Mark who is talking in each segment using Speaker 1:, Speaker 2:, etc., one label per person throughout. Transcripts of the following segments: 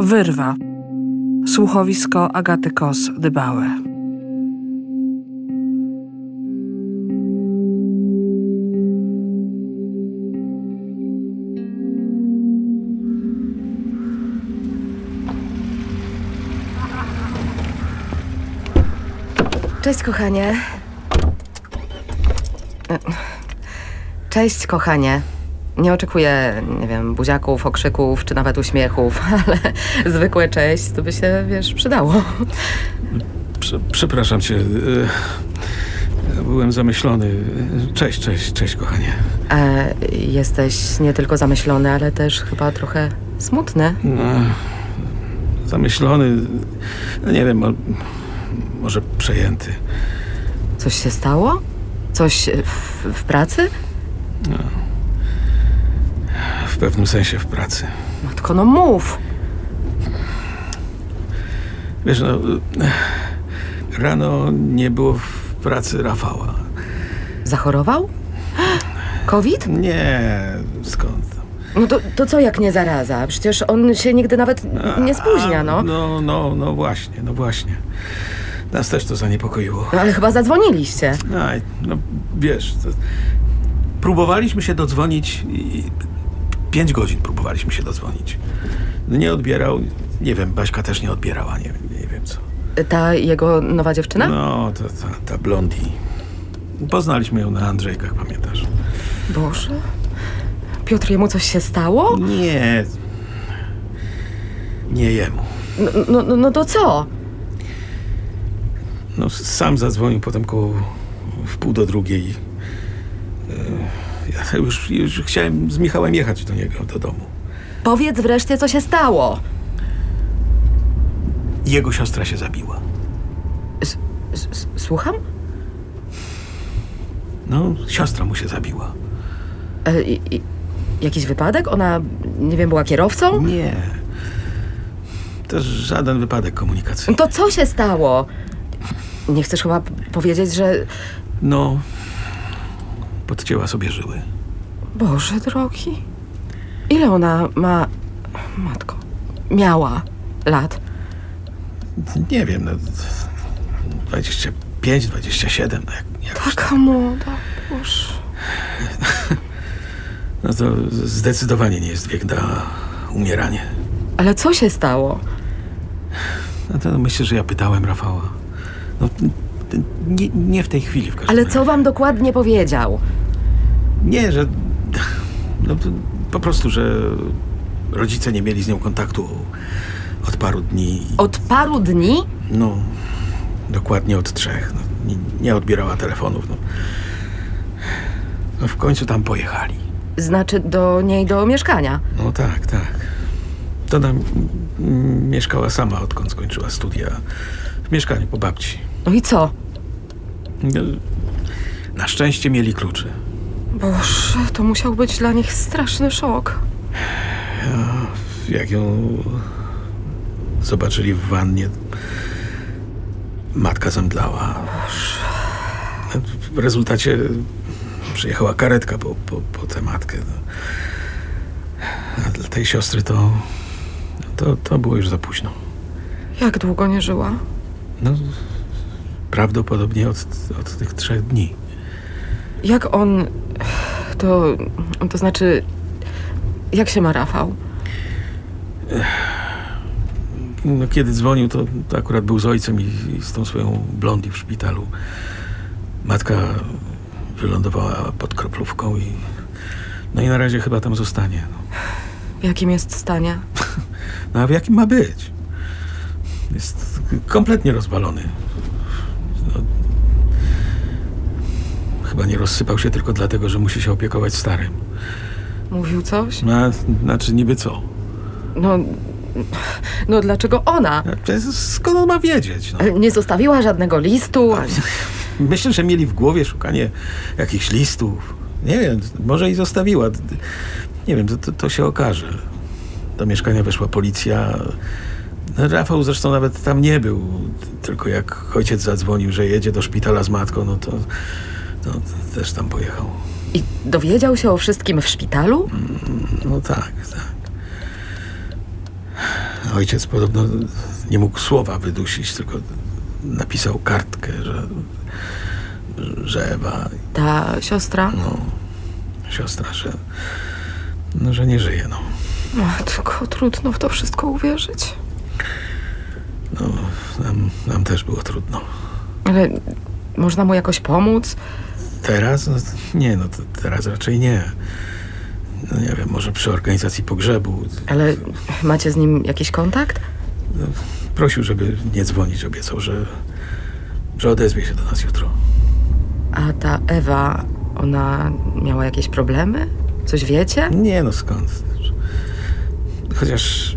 Speaker 1: Wyrwa. Słuchowisko Agaty Kos Dybałe.
Speaker 2: Cześć, kochanie. Cześć, kochanie. Nie oczekuję, nie wiem, buziaków, okrzyków czy nawet uśmiechów, ale zwykłe cześć to by się, wiesz, przydało.
Speaker 3: Prze- Przepraszam cię. e, Byłem zamyślony. Cześć, cześć, cześć, kochanie.
Speaker 2: E, jesteś nie tylko zamyślony, ale też chyba trochę smutny.
Speaker 3: No, zamyślony. no Nie wiem, mo- może przejęty.
Speaker 2: Coś się stało? Coś w, w pracy?
Speaker 3: W pewnym sensie w pracy.
Speaker 2: Matko, no mów!
Speaker 3: Wiesz, no. e, Rano nie było w pracy Rafała.
Speaker 2: Zachorował? COVID?
Speaker 3: Nie, skąd? tam.
Speaker 2: No to, to co jak nie zaraza? Przecież on się nigdy nawet nie spóźnia,
Speaker 3: A,
Speaker 2: no.
Speaker 3: No, no, no właśnie, no właśnie. Nas też to zaniepokoiło.
Speaker 2: No ale chyba zadzwoniliście.
Speaker 3: Aj, no wiesz, to... próbowaliśmy się dodzwonić i... i pięć godzin próbowaliśmy się dodzwonić. No Nie odbierał, nie wiem, Baśka też nie odbierała, nie, wiem- nie wiem co.
Speaker 2: Ta jego nowa dziewczyna?
Speaker 3: No, to ta, ta blondi. Poznaliśmy ją na Andrzejkach, pamiętasz?
Speaker 2: Boże. Piotr, jemu coś się stało?
Speaker 3: Nie. Nie jemu.
Speaker 2: No, no, no, no to co?
Speaker 3: No, s- sam zadzwonił potem koło w pół do drugiej. E, Ja już, już chciałem z Michałem jechać do niego, do domu.
Speaker 2: Powiedz wreszcie, co się stało.
Speaker 3: Jego siostra się zabiła.
Speaker 2: S- s- s- Słucham?
Speaker 3: No, siostra mu się zabiła.
Speaker 2: E, i, i, jakiś wypadek? Ona, nie wiem, była kierowcą?
Speaker 3: Nie. To żaden wypadek komunikacyjny.
Speaker 2: No To co się stało? Nie chcesz chyba p- powiedzieć, że...
Speaker 3: No, podcięła sobie żyły.
Speaker 2: Boże drogi. Ile ona ma... Matko. Miała lat.
Speaker 3: Nie wiem, no, 25, 27, no jak, jak,
Speaker 2: Taka młoda. Boże.
Speaker 3: No to zdecydowanie nie jest wiek na umieranie.
Speaker 2: Ale co się stało?
Speaker 3: No to myślę, że ja pytałem Rafała. No, n- n- nie, nie w tej chwili w każdym
Speaker 2: Ale
Speaker 3: razie.
Speaker 2: co wam dokładnie powiedział?
Speaker 3: Nie, że. No, to po prostu, że rodzice nie mieli z nią kontaktu od paru dni. i-
Speaker 2: Od paru dni
Speaker 3: No, dokładnie od trzech. No, nie, nie odbierała telefonów. No. no w końcu tam pojechali.
Speaker 2: Znaczy do niej do mieszkania.
Speaker 3: No tak, tak. To tam mm, mieszkała sama, odkąd skończyła studia. W mieszkaniu po babci.
Speaker 2: No i co?
Speaker 3: No, Na szczęście mieli klucze.
Speaker 2: Boże, to musiał być dla nich straszny szok.
Speaker 3: Jak ją zobaczyli w wannie, matka zemdlała. W rezultacie przyjechała karetka po, po, po tę matkę. no. A dla tej siostry to, to, to było już za późno.
Speaker 2: Jak długo nie żyła?
Speaker 3: No, prawdopodobnie od, od tych trzech dni.
Speaker 2: Jak on. To. To znaczy. Jak się ma Rafał?
Speaker 3: No, kiedy dzwonił, to, to akurat był z ojcem i, i z tą swoją blondi w szpitalu. Matka wylądowała pod kroplówką i... No i na razie chyba tam zostanie. No,
Speaker 2: W jakim jest stanie?
Speaker 3: no a w jakim ma być? Jest kompletnie rozwalony. No, chyba nie rozsypał się tylko dlatego, że musi się opiekować starym.
Speaker 2: Mówił coś?
Speaker 3: No, a znaczy niby co?
Speaker 2: No. No dlaczego ona?
Speaker 3: To jest- Skąd on ma wiedzieć? No?
Speaker 2: Nie zostawiła żadnego listu.
Speaker 3: Myślę, że mieli w głowie szukanie jakichś listów. Nie wiem, może i zostawiła. Nie wiem, to- to, to się okaże. Do mieszkania weszła policja. Rafał zresztą nawet tam nie był. Tylko jak ojciec zadzwonił, że jedzie do szpitala z matką, no to, no, to też tam pojechał.
Speaker 2: I dowiedział
Speaker 3: tak,
Speaker 2: się o wszystkim w szpitalu?
Speaker 3: No tak, tak. Ojciec podobno nie mógł słowa wydusić, tylko napisał kartkę, że, że Ewa,
Speaker 2: Ta siostra?
Speaker 3: no, siostra, że, no, że nie żyje. No.
Speaker 2: Matko, trudno w to wszystko uwierzyć.
Speaker 3: No, nam, nam też było trudno.
Speaker 2: Ale można mu jakoś pomóc?
Speaker 3: Teraz? No, nie, no to teraz raczej nie. No nie wiem, może przy organizacji pogrzebu.
Speaker 2: Ale macie z nim jakiś kontakt?
Speaker 3: Prosił, żeby nie dzwonić, obiecał, że, że odezwie się do nas jutro.
Speaker 2: A ta Ewa, ona miała jakieś problemy? Coś wiecie?
Speaker 3: Nie no, skąd? Chociaż,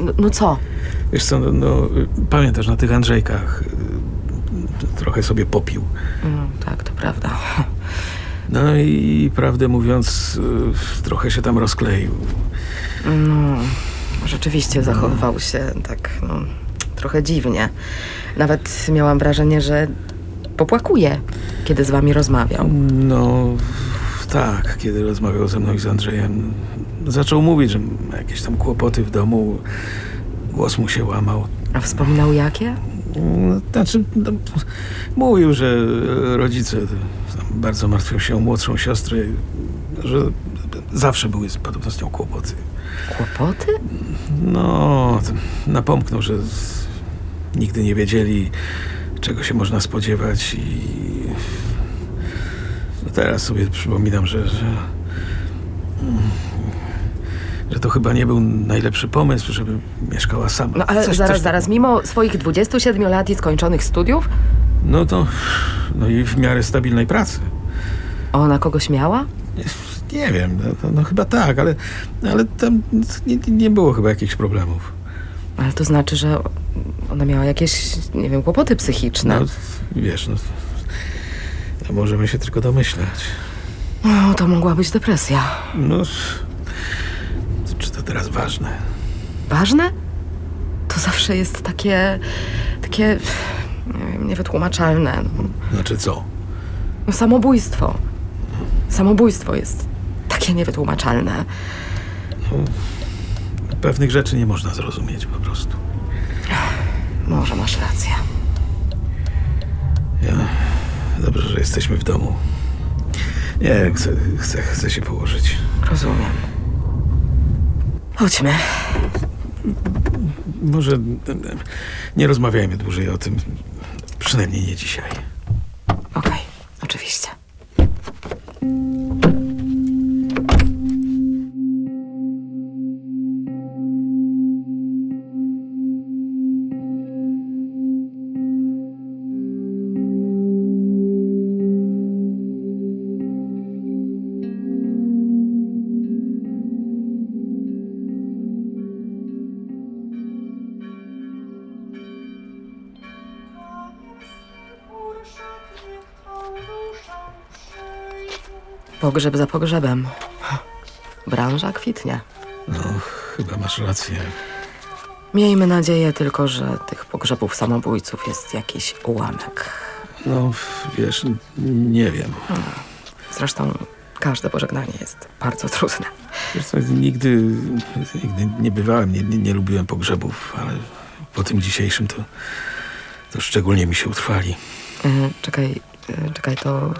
Speaker 2: No, no co?
Speaker 3: wiesz co, no, no pamiętasz, na tych Andrzejkach y, trochę sobie popił.
Speaker 2: No, tak, to prawda.
Speaker 3: No i prawdę mówiąc, y, trochę się tam rozkleił.
Speaker 2: No, rzeczywiście zachowywał się tak, no, trochę dziwnie. Nawet miałam wrażenie, że popłakuje, kiedy z wami rozmawiał.
Speaker 3: No tak, kiedy rozmawiał ze mną i z Andrzejem, zaczął mówić, że ma jakieś tam kłopoty w domu, głos mu się łamał.
Speaker 2: A wspominał jakie?
Speaker 3: No, Znaczy, no, mówił, że rodzice tam bardzo martwią się o młodszą siostrę, że zawsze były z- podobno z nią kłopoty.
Speaker 2: Kłopoty?
Speaker 3: No, t- napomknął, że z- nigdy nie wiedzieli, czego się można spodziewać i no teraz sobie przypominam, że, że, mm, że to chyba nie był najlepszy pomysł, żeby mieszkała sama.
Speaker 2: No ale
Speaker 3: Coś-
Speaker 2: zaraz,
Speaker 3: coś-
Speaker 2: zaraz, mimo swoich 27 lat i skończonych studiów,
Speaker 3: No to, no i w miarę stabilnej pracy.
Speaker 2: ona kogoś miała?
Speaker 3: Nie wiem, no, no, no chyba tak, ale, ale tam nie, nie było chyba jakichś problemów.
Speaker 2: Ale to znaczy, że ona miała jakieś, nie wiem, kłopoty psychiczne.
Speaker 3: No, wiesz, no, to możemy się tylko domyślać.
Speaker 2: No, to mogła być depresja.
Speaker 3: No, to czy to teraz ważne?
Speaker 2: Ważne? To zawsze jest takie, takie, nie wiem, niewytłumaczalne. No.
Speaker 3: Znaczy co?
Speaker 2: No, samobójstwo. Samobójstwo jest takie niewytłumaczalne.
Speaker 3: No, Pewnych rzeczy nie można zrozumieć po prostu.
Speaker 2: Może masz rację.
Speaker 3: Ja, dobrze, że jesteśmy w domu. Nie, chcę, chcę, chcę się położyć.
Speaker 2: Rozumiem. Chodźmy.
Speaker 3: Może em, em, nie rozmawiajmy dłużej o tym. Przynajmniej nie dzisiaj.
Speaker 2: Okej, oczywiście. Pogrzeb za pogrzebem. Branża kwitnie.
Speaker 3: No, chyba masz rację.
Speaker 2: Miejmy nadzieję tylko, że tych pogrzebów samobójców jest jakiś ułamek.
Speaker 3: No, wiesz, nie wiem.
Speaker 2: Zresztą każde pożegnanie jest bardzo trudne.
Speaker 3: Wiesz co, nigdy, nigdy nie bywałem, nie, nie, nie lubiłem pogrzebów, ale po tym dzisiejszym to, to szczególnie mi się utrwali.
Speaker 2: E, Czekaj, e, czekaj, to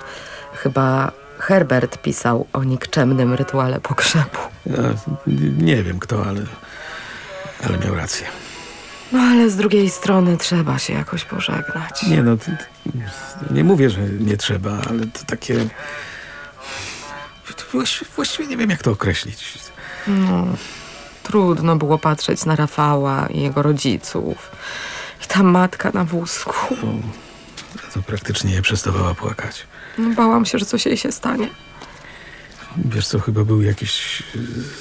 Speaker 2: chyba Herbert pisał o nikczemnym rytuale pogrzebu.
Speaker 3: Ja n- nie wiem kto, ale, ale miał rację.
Speaker 2: No ale z drugiej strony trzeba się jakoś pożegnać.
Speaker 3: Nie no, ty, ty, nie mówię, że nie trzeba, ale to takie... to właś- Właściwie nie wiem, jak to określić.
Speaker 2: No, trudno było patrzeć na Rafała i jego rodziców. I ta matka na wózku.
Speaker 3: To, to praktycznie nie przestawała płakać.
Speaker 2: No, Bałam się, że coś jej się stanie.
Speaker 3: Wiesz co, chyba był jakiś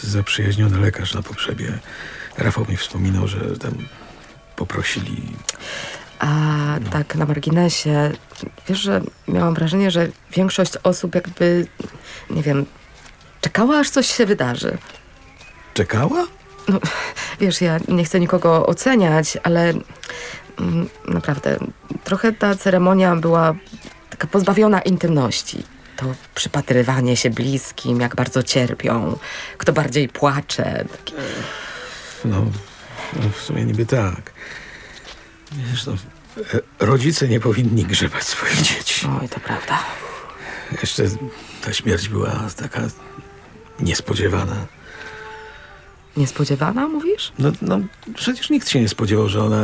Speaker 3: y, zaprzyjaźniony lekarz na pogrzebie. Rafał mi wspominał, że tam poprosili...
Speaker 2: A tak na marginesie, wiesz, że miałam wrażenie, że większość osób jakby, nie wiem, czekała aż coś się wydarzy.
Speaker 3: Czekała?
Speaker 2: No, wiesz, ja nie chcę nikogo oceniać, ale mm, naprawdę trochę ta ceremonia była taka pozbawiona intymności. To przypatrywanie się bliskim, jak bardzo cierpią, kto bardziej płacze. Taki,
Speaker 3: No, No, w sumie niby tak. Wiesz, no, e, rodzice nie powinni grzebać swoich dzieci.
Speaker 2: Oj, to prawda.
Speaker 3: Jeszcze ta śmierć była taka niespodziewana.
Speaker 2: Niespodziewana, mówisz?
Speaker 3: No, no przecież nikt się nie spodziewał, że ona...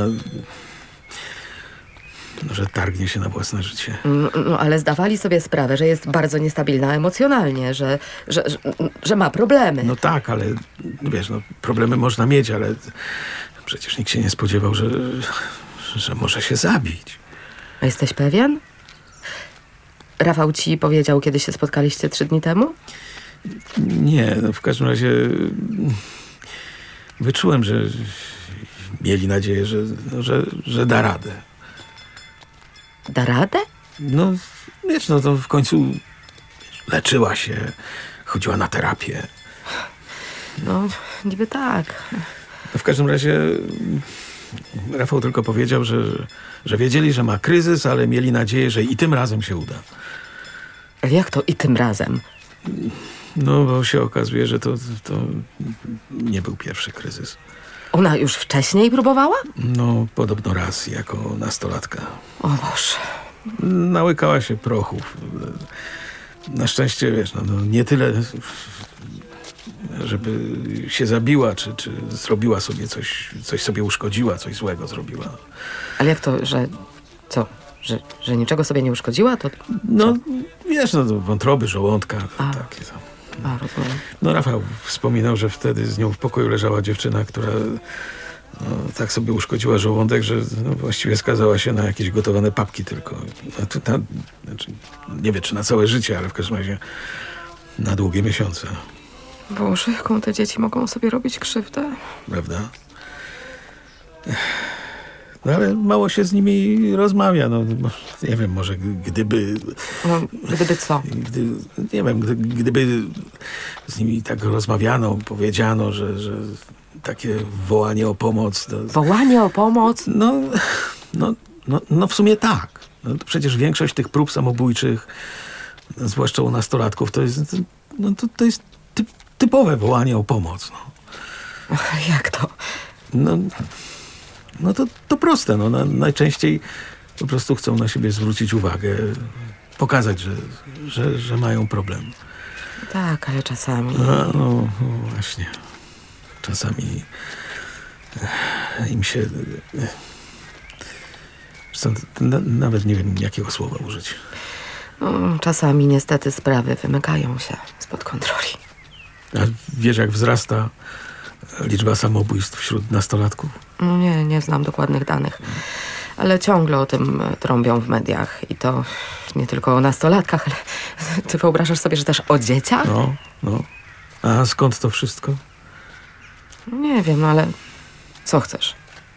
Speaker 3: no, że targnie się na własne życie.
Speaker 2: Mm, No, ale zdawali sobie sprawę, że jest bardzo niestabilna emocjonalnie, że, że, że, że ma problemy.
Speaker 3: No tak, ale wiesz, no, problemy można mieć, ale przecież nikt się nie spodziewał, że, że może się zabić.
Speaker 2: A Jesteś pewien? Rafał ci powiedział, kiedy się spotkaliście trzy dni temu?
Speaker 3: Nie, no w każdym razie mm, wyczułem, że mieli nadzieję, że, no, że, że da radę.
Speaker 2: Da radę?
Speaker 3: No, wiesz, no to w końcu wiesz, leczyła się, chodziła na terapię.
Speaker 2: No, niby tak.
Speaker 3: No w każdym razie mm, Rafał tylko powiedział, że, że wiedzieli, że ma kryzys, ale mieli nadzieję, że i tym razem się uda.
Speaker 2: Ale Jak to i tym razem?
Speaker 3: No, bo się okazuje, że to, to nie był pierwszy kryzys.
Speaker 2: Ona już wcześniej próbowała?
Speaker 3: No, podobno raz, jako nastolatka.
Speaker 2: O Boże.
Speaker 3: Nałykała się prochów. Na szczęście, wiesz, no, no, nie tyle, żeby się zabiła, czy, czy zrobiła sobie coś, coś sobie uszkodziła, coś złego zrobiła.
Speaker 2: Ale jak to, że... Co? Że, że niczego sobie nie uszkodziła? To...
Speaker 3: No, wiesz, no, to wątroby, żołądka, to
Speaker 2: A.
Speaker 3: takie tam.
Speaker 2: A, rozumiem.
Speaker 3: No, Rafał wspominał, że wtedy z nią w pokoju leżała dziewczyna, która no, tak sobie uszkodziła żołądek, że no, właściwie skazała się na jakieś gotowane papki tylko. A tu, na, znaczy, nie wiem, czy na całe życie, ale w każdym razie na długie miesiące,
Speaker 2: Boże, jaką te dzieci mogą sobie robić krzywdę?
Speaker 3: prawda? Ech. No ale mało się z nimi rozmawia. No, bo- nie wiem, może g- gdyby,
Speaker 2: No, gdyby co?
Speaker 3: gdy, nie wiem, gdy, gdyby z nimi tak rozmawiano, powiedziano, że, że takie wołanie o pomoc, to,
Speaker 2: Wołanie o pomoc?
Speaker 3: No, no, no, no w sumie tak. No, to przecież większość tych prób samobójczych, zwłaszcza u nastolatków, to jest, no, to, to jest typ, typowe wołanie o pomoc. No,
Speaker 2: Och, jak to?
Speaker 3: no, no to, to proste. No, na, najczęściej po prostu chcą na siebie zwrócić uwagę, pokazać, że, że, że mają problem.
Speaker 2: Tak, ale czasami.
Speaker 3: No, no właśnie. Czasami eh, im się. eh, Zresztą t- na, nawet nie wiem, jakiego słowa użyć.
Speaker 2: No, czasami niestety sprawy wymykają się spod kontroli.
Speaker 3: A wiesz, jak wzrasta liczba samobójstw wśród nastolatków?
Speaker 2: No nie, nie znam dokładnych danych, ale ciągle o tym e, trąbią w mediach i to nie tylko o nastolatkach, ale ty wyobrażasz sobie, że też o dzieciach?
Speaker 3: No, no. A skąd to wszystko?
Speaker 2: Nie wiem, no ale co chcesz?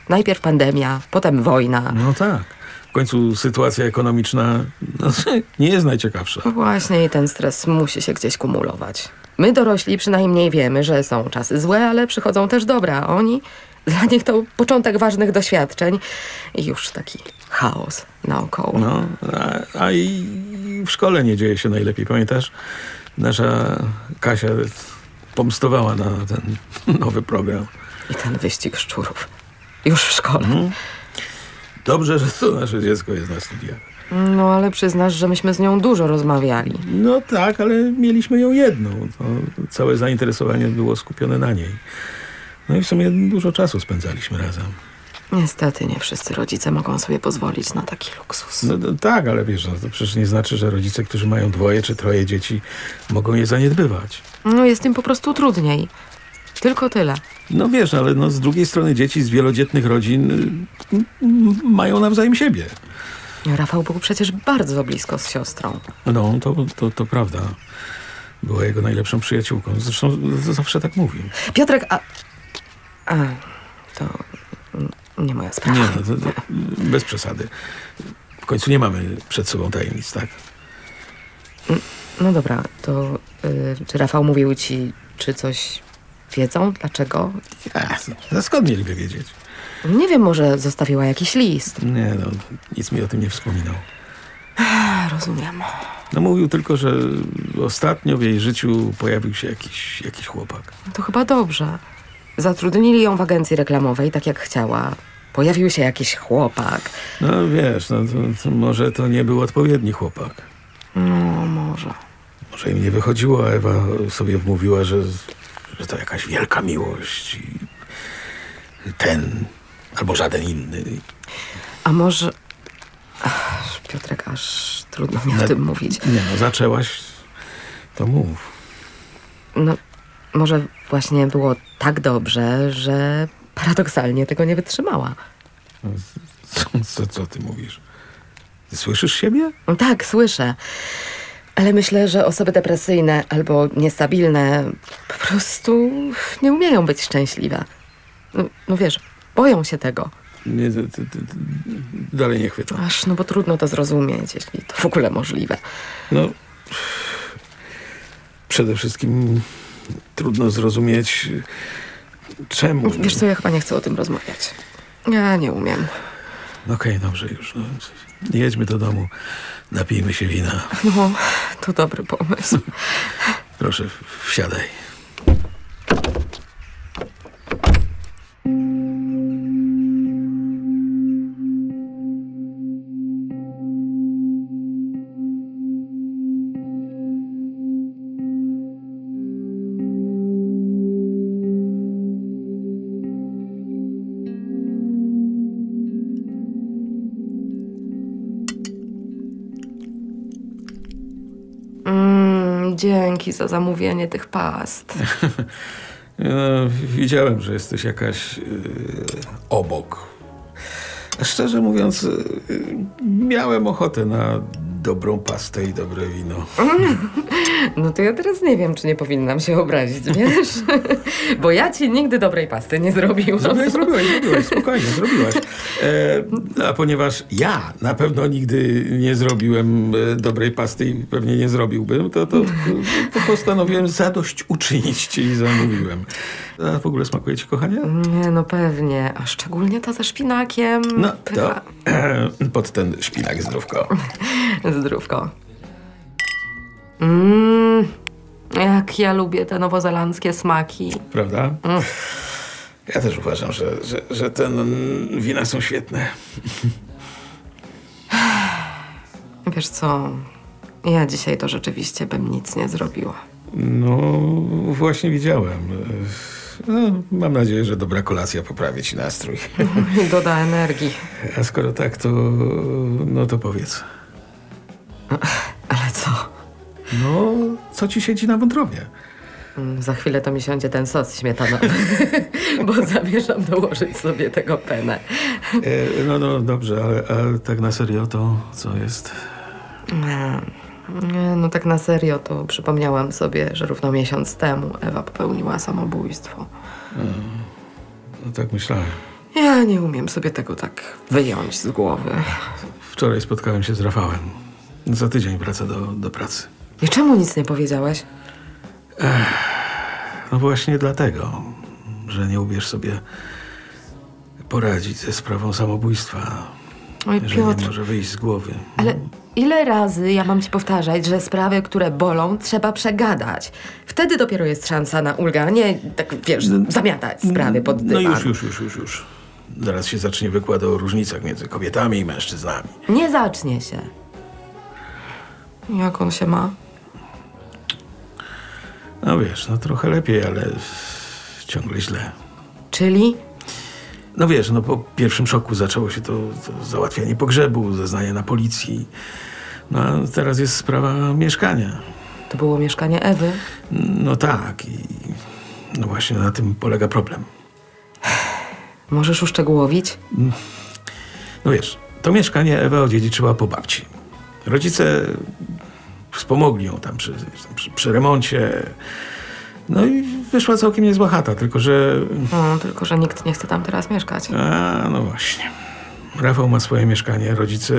Speaker 2: Najpierw pandemia, potem wojna.
Speaker 3: No tak. W końcu sytuacja ekonomiczna no, nie jest najciekawsza.
Speaker 2: No właśnie i ten stres musi się gdzieś kumulować. My dorośli przynajmniej wiemy, że są czasy złe, ale przychodzą też dobra, a oni... Dla nich to początek ważnych doświadczeń i już taki chaos naokoło.
Speaker 3: No, a, a i w szkole nie dzieje się najlepiej, pamiętasz? Nasza Kasia pomstowała na ten nowy program.
Speaker 2: I ten wyścig szczurów. Już w szkole.
Speaker 3: Dobrze, że to nasze dziecko jest na studiach.
Speaker 2: No, ale przyznasz, że myśmy z nią dużo rozmawiali.
Speaker 3: No tak, ale mieliśmy ją jedną. To całe zainteresowanie było skupione na niej. No i w sumie dużo czasu spędzaliśmy razem.
Speaker 2: Niestety nie wszyscy rodzice mogą sobie pozwolić na taki luksus.
Speaker 3: No, no tak, ale wiesz, no, to przecież nie znaczy, że rodzice, którzy mają dwoje czy troje dzieci, mogą je zaniedbywać.
Speaker 2: No, jest im po prostu trudniej. Tylko tyle.
Speaker 3: No wiesz, ale no, z drugiej strony dzieci z wielodzietnych rodzin y, y, y, mają nawzajem siebie.
Speaker 2: Rafał był przecież bardzo blisko z siostrą.
Speaker 3: No, to, to, to prawda. Była jego najlepszą przyjaciółką. Zresztą z- zawsze tak mówił.
Speaker 2: Piotrek, a... a to n- nie moja sprawa.
Speaker 3: Nie, no, to, to, bez przesady. W końcu nie mamy przed sobą tajemnic, tak?
Speaker 2: No dobra, to y, czy Rafał mówił ci, czy coś wiedzą? Dlaczego?
Speaker 3: Ja, skąd mieliby wiedzieć?
Speaker 2: Nie wiem, może zostawiła jakiś list.
Speaker 3: Nie, no, nic mi o tym nie wspominał.
Speaker 2: A, rozumiem.
Speaker 3: No mówił tylko, że ostatnio w jej życiu pojawił się jakiś, jakiś chłopak.
Speaker 2: To chyba dobrze. Zatrudnili ją w agencji reklamowej, tak jak chciała. Pojawił się jakiś chłopak.
Speaker 3: No wiesz, no, to, to może to nie był odpowiedni chłopak.
Speaker 2: No, może.
Speaker 3: Może im nie wychodziło, a Ewa sobie wmówiła, że, że to jakaś wielka miłość. i Ten albo żaden inny.
Speaker 2: A może... Ach, Piotrek, aż trudno mi o
Speaker 3: No,
Speaker 2: tym mówić.
Speaker 3: Nie no, zaczęłaś, to mów.
Speaker 2: No, może właśnie było tak dobrze, że paradoksalnie tego nie wytrzymała.
Speaker 3: Co, co, co ty mówisz? Ty słyszysz siebie?
Speaker 2: No tak, słyszę. Ale myślę, że osoby depresyjne albo niestabilne po prostu nie umieją być szczęśliwe. No, no wiesz, boją się tego.
Speaker 3: Nie, ty, ty, ty, dalej nie chwytam.
Speaker 2: Aż no bo trudno to zrozumieć, jeśli to w ogóle możliwe.
Speaker 3: No, przede wszystkim trudno zrozumieć, czemu.
Speaker 2: No, Wiesz co, ja chyba nie chcę o tym rozmawiać. Ja nie umiem.
Speaker 3: Okej, dobrze już. No. Jedźmy do domu, napijmy się wina.
Speaker 2: No, to dobry pomysł.
Speaker 3: Proszę, wsiadaj.
Speaker 2: Mm, dzięki za zamówienie tych past.
Speaker 3: No, widziałem, że jesteś jakaś yy, obok. Szczerze mówiąc, yy, miałem ochotę na dobrą pastę i dobre wino.
Speaker 2: No to ja teraz nie wiem, czy nie powinnam się obrazić, wiesz? Bo ja ci nigdy dobrej pasty nie zrobiłam.
Speaker 3: Zrobiłaś, zrobiłaś, zrobiłaś, spokojnie, zrobiłaś. E, a ponieważ ja na pewno nigdy nie zrobiłem e, dobrej pasty i pewnie nie zrobiłbym, to, to, to postanowiłem zadość uczynić ci i zamówiłem. A w ogóle smakuje ci, kochanie?
Speaker 2: Nie, no pewnie. A szczególnie ta ze szpinakiem.
Speaker 3: No to
Speaker 2: Pycha.
Speaker 3: pod ten szpinak zdrówko.
Speaker 2: Zdrówko. Mmm, jak ja lubię te nowozelandzkie smaki.
Speaker 3: Prawda? Ja też uważam, że, że, że te mm, wina są świetne.
Speaker 2: Wiesz co, ja dzisiaj to rzeczywiście bym nic nie zrobiła.
Speaker 3: No, właśnie widziałem. No, mam nadzieję, że dobra kolacja poprawi ci nastrój.
Speaker 2: Doda energii.
Speaker 3: A skoro tak, to no to powiedz.
Speaker 2: Ale co?
Speaker 3: No, co ci siedzi na wątrobie?
Speaker 2: Mm, Za chwilę to mi siądzie ten sos śmietanowy, bo zamierzam dołożyć sobie tego penę.
Speaker 3: E, no, no, dobrze, ale, ale tak na serio to co jest?
Speaker 2: Nie, No tak na serio, to przypomniałam sobie, że równo miesiąc temu Ewa popełniła samobójstwo.
Speaker 3: No, tak myślałem.
Speaker 2: Ja nie umiem sobie tego tak wyjąć z głowy.
Speaker 3: Wczoraj spotkałem się z Rafałem. Za tydzień wraca do, do pracy.
Speaker 2: I czemu nic nie powiedziałaś?
Speaker 3: No właśnie dlatego, że nie umiesz sobie poradzić ze sprawą samobójstwa.
Speaker 2: Oj,
Speaker 3: Że nie
Speaker 2: Piotr,
Speaker 3: może wyjść z głowy.
Speaker 2: ale ile razy ja mam ci powtarzać, że sprawy, które bolą, trzeba przegadać. Wtedy dopiero jest szansa na ulgę, a nie tak, wiesz, zamiatać sprawy pod dywan.
Speaker 3: No już, już, już, już, już. Zaraz się zacznie wykład o różnicach między kobietami i mężczyznami.
Speaker 2: Nie zacznie się. Jak on się ma?
Speaker 3: No wiesz, no trochę lepiej, ale ciągle źle.
Speaker 2: Czyli?
Speaker 3: No wiesz, no po pierwszym szoku zaczęło się to, to załatwianie pogrzebu, zeznanie na policji. No a teraz jest sprawa mieszkania.
Speaker 2: To było mieszkanie Ewy.
Speaker 3: No tak i no właśnie na tym polega problem.
Speaker 2: Możesz uszczegółowić?
Speaker 3: No wiesz, to mieszkanie Ewa odziedziczyła po babci. Rodzice wspomogli ją tam przy, przy, przy remoncie. No i wyszła całkiem niezła chata, tylko że...
Speaker 2: No, tylko, że nikt nie chce tam teraz mieszkać.
Speaker 3: A, no właśnie. Rafał ma swoje mieszkanie, rodzice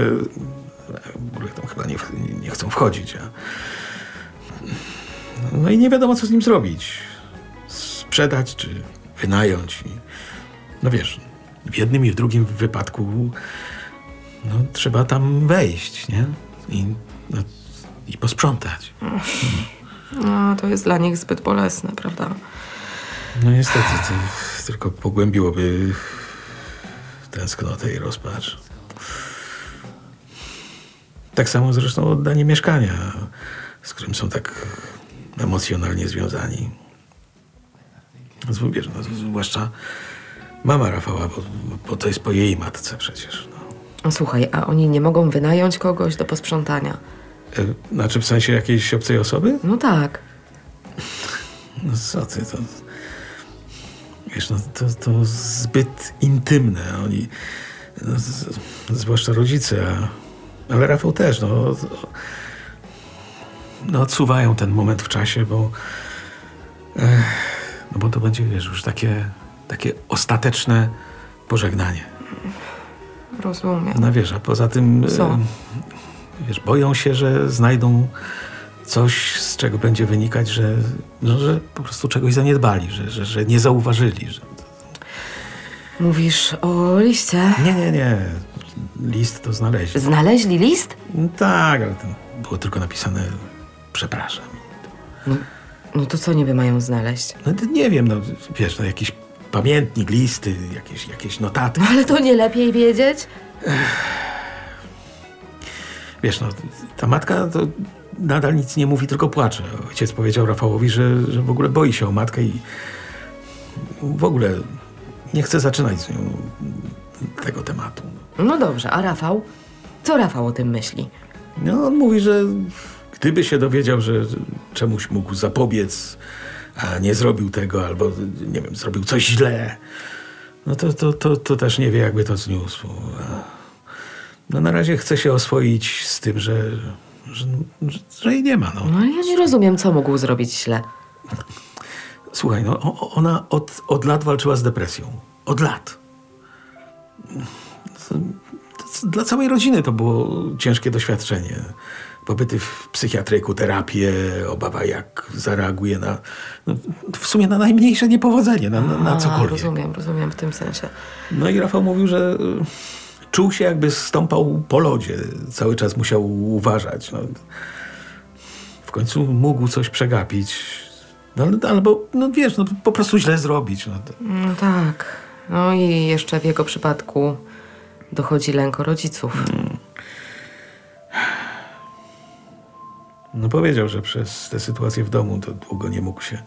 Speaker 3: w ogóle tam chyba nie, nie chcą wchodzić. A... No i nie wiadomo, co z nim zrobić. Sprzedać czy wynająć. I- No wiesz, w jednym i w drugim wypadku no, trzeba tam wejść, nie? I, no, i posprzątać.
Speaker 2: No, to jest dla nich zbyt bolesne, prawda?
Speaker 3: No niestety, to tylko pogłębiłoby tęsknotę i rozpacz. Tak samo zresztą oddanie mieszkania, z którym są tak emocjonalnie związani. Wiesz, no, zwłaszcza mama Rafała, bo, bo to jest po jej matce przecież. No.
Speaker 2: Słuchaj, a oni nie mogą wynająć kogoś do posprzątania.
Speaker 3: E, Znaczy w sensie jakiejś obcej osoby?
Speaker 2: No tak.
Speaker 3: No co ty, to... Wiesz, no to, to zbyt intymne. Oni, no, z, zwłaszcza rodzice, a, ale Rafał też, no... to- No odsuwają ten moment w czasie, bo... Ech, no bo to będzie, wiesz, już takie, takie ostateczne pożegnanie.
Speaker 2: Rozumiem.
Speaker 3: No wiesz, a poza tym... e,
Speaker 2: Co?
Speaker 3: Wiesz, boją się, że znajdą coś, z czego będzie wynikać, że, no, że po prostu czegoś zaniedbali, że, że, że nie zauważyli. Że...
Speaker 2: Mówisz o liście?
Speaker 3: Nie, nie, nie. List to znaleźli.
Speaker 2: Znaleźli list?
Speaker 3: No tak, ale tam było tylko napisane przepraszam.
Speaker 2: No to co niby mają znaleźć?
Speaker 3: No to nie wiem, no wiesz, no jakiś pamiętnik, listy, jakieś, jakieś notatki.
Speaker 2: No ale to nie lepiej wiedzieć?
Speaker 3: Wiesz, no ta matka to nadal nic nie mówi, tylko płacze. Ojciec powiedział Rafałowi, że, że w ogóle boi się o matkę i w ogóle nie chce zaczynać z nią tego tematu.
Speaker 2: No dobrze, a Rafał? Co Rafał o tym myśli?
Speaker 3: No on mówi, że gdyby się dowiedział, że czemuś mógł zapobiec, a nie zrobił tego, albo nie wiem, zrobił coś źle, no to, to, to, to też nie wie, jakby to zniósł. A No na razie chce się oswoić z tym, że, że, że, że jej nie ma. No.
Speaker 2: No ja nie rozumiem, co mógł zrobić źle.
Speaker 3: Słuchaj, no o- o- ona od, od lat walczyła z depresją. Od lat. To- to Dla całej rodziny to było ciężkie doświadczenie. Pobyty w psychiatryku, terapię, obawa jak zareaguje na, no, w sumie na najmniejsze niepowodzenie, na, na, na
Speaker 2: A,
Speaker 3: cokolwiek.
Speaker 2: Rozumiem, rozumiem w tym sensie.
Speaker 3: No i Rafał mówił, że y, czuł się jakby stąpał po lodzie. Cały czas musiał uważać. No. W końcu mógł coś przegapić. No, ale- albo, no wiesz, no, po prostu źle zrobić. No. To-
Speaker 2: No tak. No i jeszcze w jego przypadku dochodzi lęko rodziców.
Speaker 3: No powiedział, że przez tę sytuację w domu to długo nie mógł się,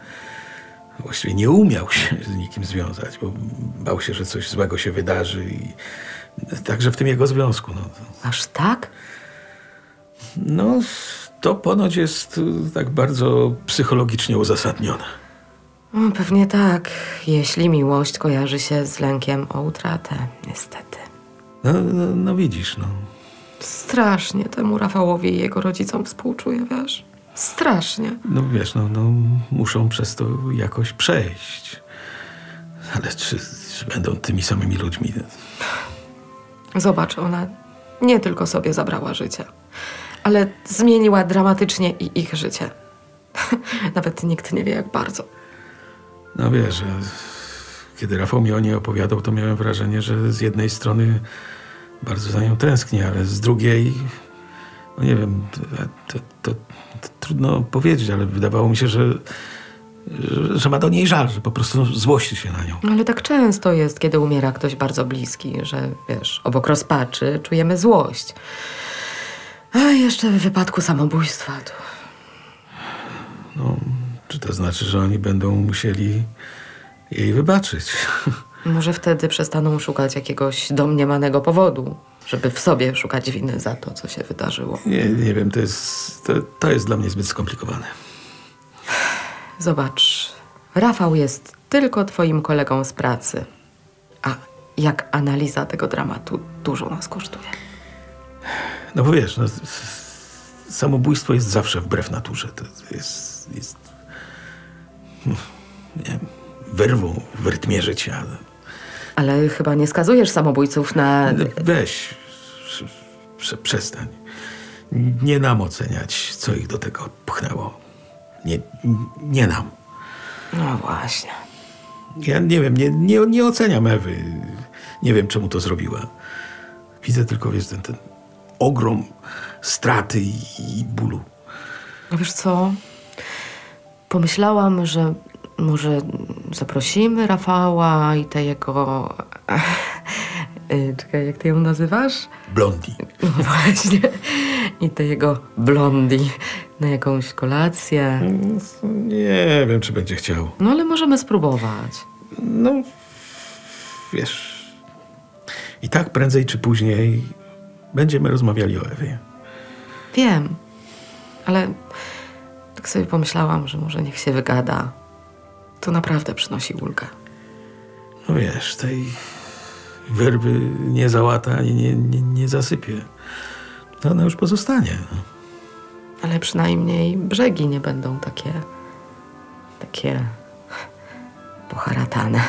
Speaker 3: właściwie nie umiał się z nikim związać, bo bał się, że coś złego się wydarzy i także w tym jego związku. No, to,
Speaker 2: Aż tak?
Speaker 3: no to ponoć jest y, tak bardzo psychologicznie uzasadnione.
Speaker 2: No, pewnie tak, jeśli miłość kojarzy się z lękiem o utratę, niestety.
Speaker 3: No, no, no widzisz, no.
Speaker 2: Strasznie temu Rafałowi i jego rodzicom współczuję, wiesz? Strasznie.
Speaker 3: No wiesz, no, no muszą przez to jakoś przejść. Ale czy, czy będą tymi samymi ludźmi?
Speaker 2: Zobacz, ona nie tylko sobie zabrała życie, ale zmieniła dramatycznie i ich życie. Nawet nikt nie wie, jak bardzo.
Speaker 3: No wiesz, że kiedy Rafał mi o niej opowiadał, to miałem wrażenie, że z jednej strony bardzo za nią tęsknię, ale z drugiej, no nie wiem, to, to, to, to trudno powiedzieć, ale wydawało mi się, że, że, że ma do niej żal, że po prostu złości się na nią.
Speaker 2: No, Ale tak często jest, kiedy umiera ktoś bardzo bliski, że wiesz, obok rozpaczy czujemy złość. A jeszcze w wypadku samobójstwa to
Speaker 3: No, czy to znaczy, że oni będą musieli jej wybaczyć?
Speaker 2: może wtedy przestaną szukać jakiegoś domniemanego powodu, żeby w sobie szukać winy za to, co się wydarzyło.
Speaker 3: Nie, nie wiem, to jest, to, to jest dla mnie zbyt skomplikowane.
Speaker 2: Zobacz, Rafał jest tylko twoim kolegą z pracy. A jak analiza tego dramatu dużo nas kosztuje.
Speaker 3: No bo wiesz, no, s- s- samobójstwo jest zawsze wbrew naturze. To jest, jest no, nie wiem, wyrwą w rytmie życia.
Speaker 2: Ale chyba nie skazujesz samobójców na...
Speaker 3: No, Weź, prze, przestań. Nie nam oceniać, co ich do tego pchnęło. Nie, nie nam.
Speaker 2: No właśnie.
Speaker 3: Ja nie wiem, nie, nie, nie oceniam Ewy. Nie wiem, czemu to zrobiła. Widzę tylko, wiesz, ten, ten ogrom straty i, i bólu.
Speaker 2: No Wiesz co? Pomyślałam, że może zaprosimy Rafała i te jego... Y, Czekaj, jak ty ją nazywasz?
Speaker 3: Blondi.
Speaker 2: No właśnie. I te jego blondi na jakąś kolację.
Speaker 3: Nie wiem, czy będzie chciał.
Speaker 2: No ale możemy spróbować.
Speaker 3: No, wiesz, i tak prędzej czy później będziemy rozmawiali o Ewie.
Speaker 2: Wiem, ale tak sobie pomyślałam, że może niech się wygada. To naprawdę przynosi ulgę.
Speaker 3: No wiesz, tej werby nie załata ani nie, nie, nie zasypie. To ona już pozostanie.
Speaker 2: Ale przynajmniej brzegi nie będą takie. takie. poharatane.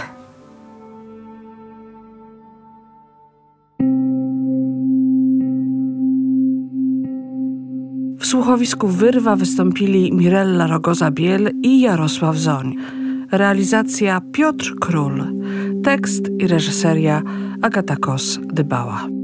Speaker 1: W słuchowisku Wyrwa wystąpili Mirella Rogoza-Biel i Jarosław Zoń. Realizacja Piotr Król. Tekst i reżyseria Agata Kos-Dybała.